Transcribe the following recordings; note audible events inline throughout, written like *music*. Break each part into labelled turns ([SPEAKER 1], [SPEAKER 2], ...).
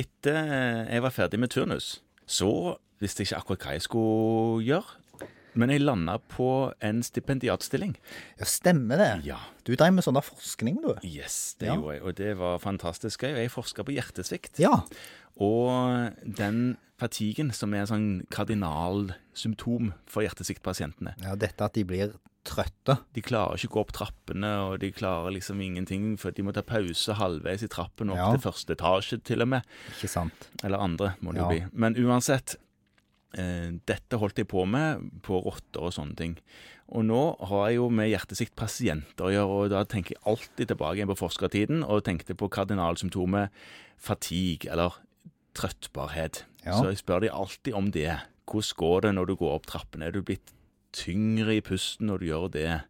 [SPEAKER 1] etter eh, jeg var ferdig med turnus, så visste jeg ikke akkurat hva jeg skulle gjøre. Men jeg landa på en stipendiatstilling.
[SPEAKER 2] Ja, stemmer det.
[SPEAKER 1] Ja.
[SPEAKER 2] Du drev med sånn der forskning, du.
[SPEAKER 1] Yes, det
[SPEAKER 2] Ja.
[SPEAKER 1] gjorde jeg, og det var fantastisk gøy. Og Jeg forska på hjertesvikt.
[SPEAKER 2] Ja.
[SPEAKER 1] Og den fatiguen, som er en sånn kardinalsymptom for hjertesviktpasientene.
[SPEAKER 2] ja. Dette at de blir trøtte.
[SPEAKER 1] De klarer ikke å gå opp trappene, og de klarer liksom ingenting, for de må ta pause halvveis i trappen opp
[SPEAKER 2] Ja.
[SPEAKER 1] til første etasje, til og med.
[SPEAKER 2] Ikke sant.
[SPEAKER 1] Eller andre, må det jo
[SPEAKER 2] Ja.
[SPEAKER 1] bli. Men uansett. Eh, dette holdt jeg på med på rotter og sånne ting. Og nå har jeg jo med hjertesiktpasienter å gjøre, og da tenker jeg alltid tilbake igjen på forskertiden og tenkte på kardinalsymptomet fatigue, eller trøttbarhet.
[SPEAKER 2] Ja.
[SPEAKER 1] Så jeg spør de alltid om det. Hvordan går det når du går opp trappene? Er du blitt tyngre i pusten når du gjør det?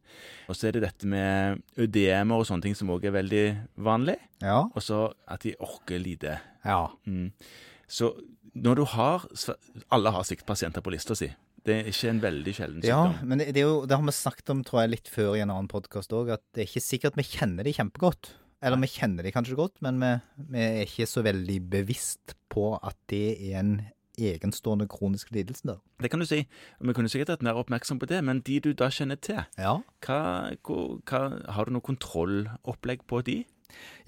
[SPEAKER 1] Og så er det dette med ødemer og sånne ting som òg er veldig vanlig,
[SPEAKER 2] Ja.
[SPEAKER 1] og så at de orker lite.
[SPEAKER 2] Ja.
[SPEAKER 1] Mm. Så når du har Alle har siktpasienter på lista si. Det er ikke en veldig sjelden
[SPEAKER 2] ja
[SPEAKER 1] sykdom.
[SPEAKER 2] men det, det, er jo, det har vi snakket om, tror jeg, litt før i en annen podkast òg, at det er ikke sikkert vi kjenner de kjempegodt. Eller vi kjenner de kanskje godt, men vi, vi er ikke så veldig bevisst på at det er en egenstående kronisk lidelse der.
[SPEAKER 1] Det kan du si. Vi kunne sikkert vært mer oppmerksom på det, men de du da kjenner til,
[SPEAKER 2] Ja.
[SPEAKER 1] hva, hvor- hva, har du noe kontrollopplegg på de?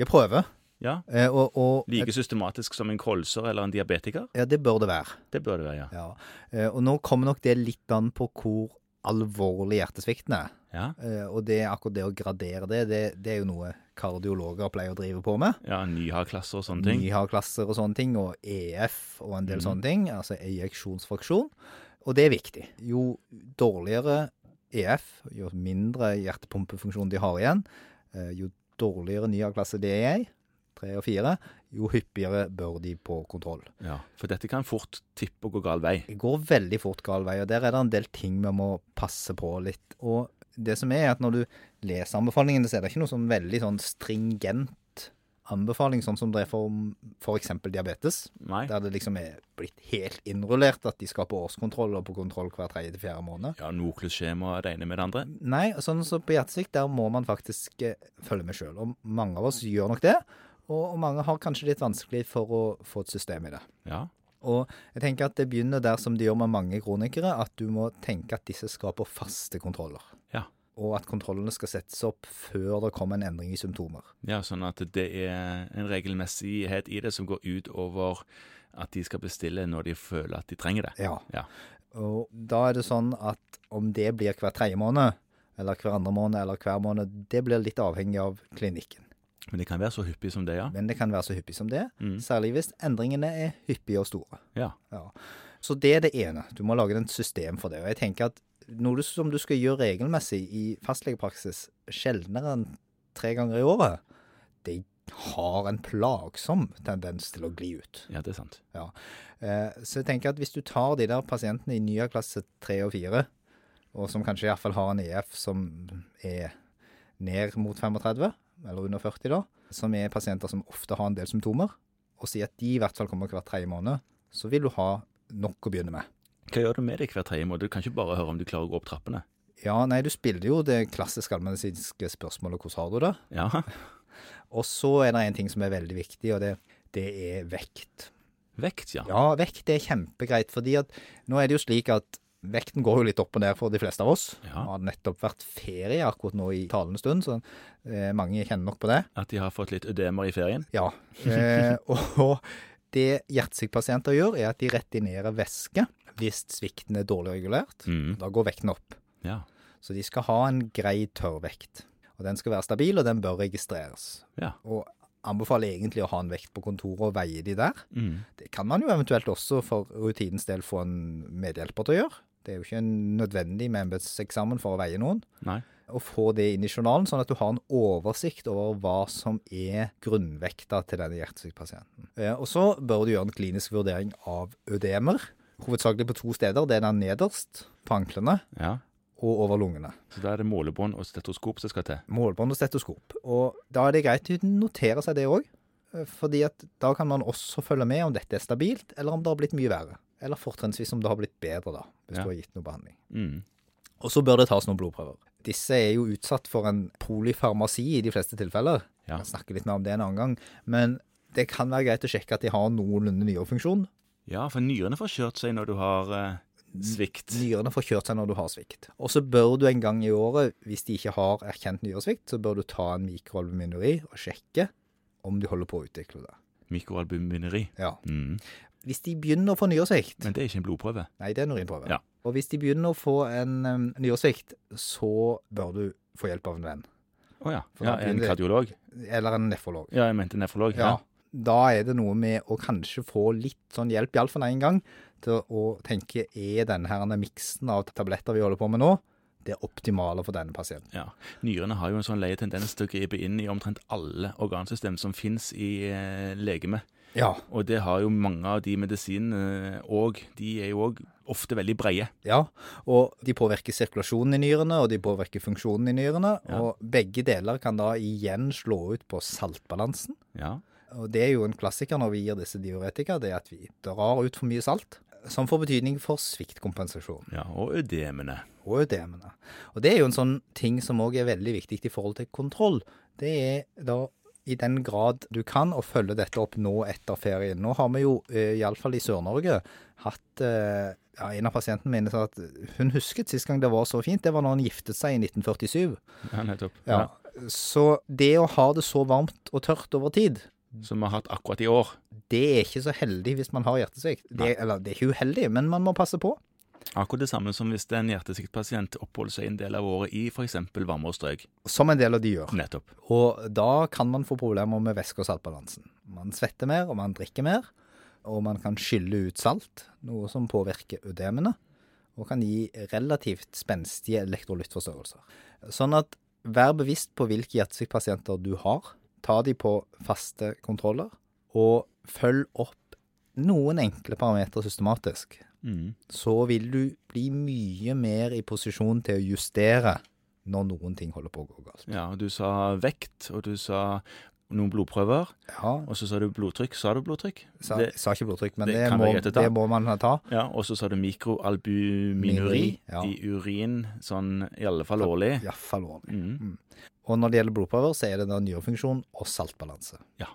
[SPEAKER 2] Jeg prøver,
[SPEAKER 1] Ja,
[SPEAKER 2] eh, og, og
[SPEAKER 1] Like systematisk som en kolser eller en diabetiker?
[SPEAKER 2] ja, det bør det være.
[SPEAKER 1] Det bør det være, ja.
[SPEAKER 2] Ja, eh, og nå kommer nok det litt an på hvor alvorlig hjertesvikten er.
[SPEAKER 1] Ja,
[SPEAKER 2] Eh, Og det, akkurat det å gradere det, det, det er jo noe kardiologer pleier å drive på med.
[SPEAKER 1] ja Nyha-klasser og sånne ting. Mhm.
[SPEAKER 2] Nyha-klasser og sånne ting, og EF og en del sånne ting, altså ejeksjonsfraksjon. Og det er viktig. Jo dårligere EF, jo mindre hjertepumpefunksjon de har igjen, eh, jo dårligere Nyha-klasse det er, tre og fire, jo hyppigere bør de på kontroll.
[SPEAKER 1] Ja, For dette kan fort tippe og gå gal vei.
[SPEAKER 2] Det går veldig fort gal vei, og der er det en del ting vi må passe på litt. Og det som er, er at når du leser anbefalingene, så er det ikke noe sånn veldig sånn stringent anbefaling, sånn som det er for f.eks. diabetes.
[SPEAKER 1] Nei.
[SPEAKER 2] Der det liksom er blitt helt innrullert at de skal på årskontroll og på kontroll hver tredje til fjerde måned.
[SPEAKER 1] Ja, Noklusskjema og det ene med det andre.
[SPEAKER 2] Nei, sånn som på hjertesvikt, der må man faktisk eh, følge med sjøl. Og mange av oss gjør nok det. Og og mange har kanskje litt vanskelig for å få et system i det.
[SPEAKER 1] Ja,
[SPEAKER 2] Og jeg tenker at det begynner der som det gjør med mange kronikere, at du må tenke at disse skal på faste kontroller.
[SPEAKER 1] ja.
[SPEAKER 2] Og at kontrollene skal settes opp før det kommer en endring i symptomer.
[SPEAKER 1] Ja, sånn at det er en regelmessighet i det som går ut over at de skal bestille når de føler at de trenger det.
[SPEAKER 2] Ja.
[SPEAKER 1] Ja.
[SPEAKER 2] Og da er det sånn at om det blir hver tredje måned, eller hver andre måned, eller hver måned, det blir litt avhengig av klinikken.
[SPEAKER 1] Men det kan være så hyppig som det, ja.
[SPEAKER 2] Men det kan være så hyppig som det,
[SPEAKER 1] Mm.
[SPEAKER 2] særlig hvis endringene er hyppige og store.
[SPEAKER 1] Ja,
[SPEAKER 2] Ja. Så det er det ene. Du må lage et system for det. Og jeg tenker at noe du- som du skal gjøre regelmessig i fastlegepraksis sjeldnere enn tre ganger i året, det har en plagsom tendens til å gli ut.
[SPEAKER 1] ja det er sant.
[SPEAKER 2] Ja. Eh, Så jeg tenker at hvis du tar de der pasientene i nye klasse 3 og 4, og som kanskje iallfall har en EF som er ned mot 35, eller under 40 da, som er pasienter som ofte har en del symptomer, og sier at de i hvert fall kommer hver tredje måned, så vil du ha nok å begynne med.
[SPEAKER 1] Hva gjør du med det hver tredje måned? Du kan ikke bare høre om du klarer å gå opp trappene.
[SPEAKER 2] Ja, nei, du spiller jo det klassiske allmennmedisinske spørsmålet 'hvordan har du det?'
[SPEAKER 1] Ja, *laughs*
[SPEAKER 2] Og så er det en ting som er veldig viktig, og det, det er vekt.
[SPEAKER 1] vekt, ja.
[SPEAKER 2] Ja, vekt er kjempegreit, fordi at nå er det jo slik at vekten går jo litt opp og ned for de fleste av oss. Det
[SPEAKER 1] Ja.
[SPEAKER 2] har nettopp vært ferie akkurat nå i talende stund, så eh, mange kjenner nok
[SPEAKER 1] *laughs*
[SPEAKER 2] på det.
[SPEAKER 1] At de har fått litt ødemer i ferien.
[SPEAKER 2] Ja. Eh, og det hjertesykepasienter gjør, er at de retinerer væske hvis svikten er dårlig regulert.
[SPEAKER 1] Mhm.
[SPEAKER 2] Da går vekten opp.
[SPEAKER 1] Ja,
[SPEAKER 2] Så de skal ha en grei tørrvekt. Og den skal være stabil, og den bør registreres.
[SPEAKER 1] ja.
[SPEAKER 2] Og anbefaler egentlig å ha en vekt på kontoret og veie de der.
[SPEAKER 1] Mhm.
[SPEAKER 2] Det kan man jo eventuelt også for rutinens del få en medhjelper til å gjøre. Det er jo ikke nødvendig med embetseksamen for å veie noen.
[SPEAKER 1] Nei.
[SPEAKER 2] Og få det inn i journalen, sånn at du har en oversikt over hva som er grunnvekta til denne hjertesykepasienten. Eh, Og så bør du gjøre en klinisk vurdering av ødemer, hovedsakelig på to steder. Det er den nederst, på anklene,
[SPEAKER 1] Ja.
[SPEAKER 2] og over lungene.
[SPEAKER 1] Så da er det målebånd og stetoskop som skal til.
[SPEAKER 2] målbånd og stetoskop. Og da er det greit å notere seg det òg, fordi at da kan man også følge med om dette er stabilt, eller om det har blitt mye verre. Eller fortrinnsvis om det har blitt bedre, da, hvis
[SPEAKER 1] Ja.
[SPEAKER 2] du har gitt noe behandling.
[SPEAKER 1] Mhm.
[SPEAKER 2] Og så bør det tas noen blodprøver. Disse er jo utsatt for en polyfarmasi i de fleste tilfeller.
[SPEAKER 1] Ja.
[SPEAKER 2] Jeg snakker litt mer om det en annen gang. Men det kan være greit å sjekke at de har noenlunde nyrefunksjon.
[SPEAKER 1] Ja, for nyrene får kjørt seg når du har eh, svikt.
[SPEAKER 2] Nyrene får kjørt seg når du har svikt. Og så bør du en gang i året, hvis de ikke har erkjent nyresvikt, så bør du ta en mikroalbuminuri og sjekke om de holder på å utvikle det.
[SPEAKER 1] Mikroalbumineri.
[SPEAKER 2] Ja.
[SPEAKER 1] Mm.
[SPEAKER 2] Hvis de begynner å få nyresvikt
[SPEAKER 1] Men det er ikke en blodprøve.
[SPEAKER 2] Nei, det er en urinprøve.
[SPEAKER 1] Ja.
[SPEAKER 2] Og hvis de begynner å få en um, nyresvikt, så bør du få hjelp av en venn.
[SPEAKER 1] Å ja.
[SPEAKER 2] For
[SPEAKER 1] ja.
[SPEAKER 2] da
[SPEAKER 1] En
[SPEAKER 2] begynner-
[SPEAKER 1] kardiolog?
[SPEAKER 2] Eller en nefrolog.
[SPEAKER 1] Ja, jeg mente nefrolog.
[SPEAKER 2] Ja. Da er det noe med å kanskje få litt sånn hjelp, iallfall én gang, til å tenke er denne her miksen av tabletter vi holder på med nå, det optimale for denne pasienten.
[SPEAKER 1] Ja. Nyrene har jo en sånn lei tendens til å gripe inn i omtrent alle organsystem som fins i eh, legeme.
[SPEAKER 2] Ja.
[SPEAKER 1] Og det har jo mange av de medisinene òg. De er jo òg ofte veldig breie.
[SPEAKER 2] ja. Og de påvirker sirkulasjonen i nyrene, og de påvirker funksjonen i nyrene.
[SPEAKER 1] Ja.
[SPEAKER 2] Og begge deler kan da igjen slå ut på saltbalansen.
[SPEAKER 1] Ja.
[SPEAKER 2] Og det er jo en klassiker når vi gir disse diuretika, det er at vi drar ut for mye salt. Som får betydning for sviktkompensasjon
[SPEAKER 1] ja. Og ødemene.
[SPEAKER 2] og ødemene. Og det er jo en sånn ting som òg er veldig viktig i forhold til kontroll. Det er da i den grad du kan å følge dette opp nå etter ferien. Nå har vi jo, iallfall i Sør-Norge, hatt eh, ja, En av pasientene mine sa at hun husket sist gang det var så fint, det var når han giftet seg i 1947.
[SPEAKER 1] Ja, nettopp.
[SPEAKER 2] Ja. Så det å ha det så varmt og tørt over tid,
[SPEAKER 1] Som vi har hatt akkurat i år.
[SPEAKER 2] det er ikke så heldig hvis man har hjertesvikt. Det, eller det er ikke uheldig, men man må passe på.
[SPEAKER 1] Akkurat det samme som hvis en hjertesviktpasient oppholder seg en del av året i f.eks. varmere strøk.
[SPEAKER 2] Som en del av de gjør.
[SPEAKER 1] Nettopp.
[SPEAKER 2] Og da kan man få problemer med væske- og saltbalansen. Man svetter mer, og man drikker mer, og man kan skylle ut salt, noe som påvirker ødemene, og kan gi relativt spenstige elektrolyttforstørrelser. Sånn at vær bevisst på hvilke hjertesviktpasienter du har. Ta de på faste kontroller, og følg opp noen enkle parametere systematisk.
[SPEAKER 1] Mm.
[SPEAKER 2] så vil du bli mye mer i posisjon til å justere når noen ting holder på å gå galt.
[SPEAKER 1] Ja, og du sa vekt, og du sa noen blodprøver,
[SPEAKER 2] Ja,
[SPEAKER 1] og så sa du blodtrykk. Sa du blodtrykk?
[SPEAKER 2] sa,
[SPEAKER 1] Det-
[SPEAKER 2] sa ikke blodtrykk, men
[SPEAKER 1] det
[SPEAKER 2] det,
[SPEAKER 1] kan
[SPEAKER 2] må,
[SPEAKER 1] være greit å ta.
[SPEAKER 2] det må man ta.
[SPEAKER 1] Ja, og så sa du mikroalbuminuri
[SPEAKER 2] Minuri, ja.
[SPEAKER 1] i urin, sånn i alle fall årlig.
[SPEAKER 2] Iallfall ordentlig.
[SPEAKER 1] Mm.
[SPEAKER 2] Og når det gjelder blodprøver, så er det da nyrefunksjon og saltbalanse.
[SPEAKER 1] Ja.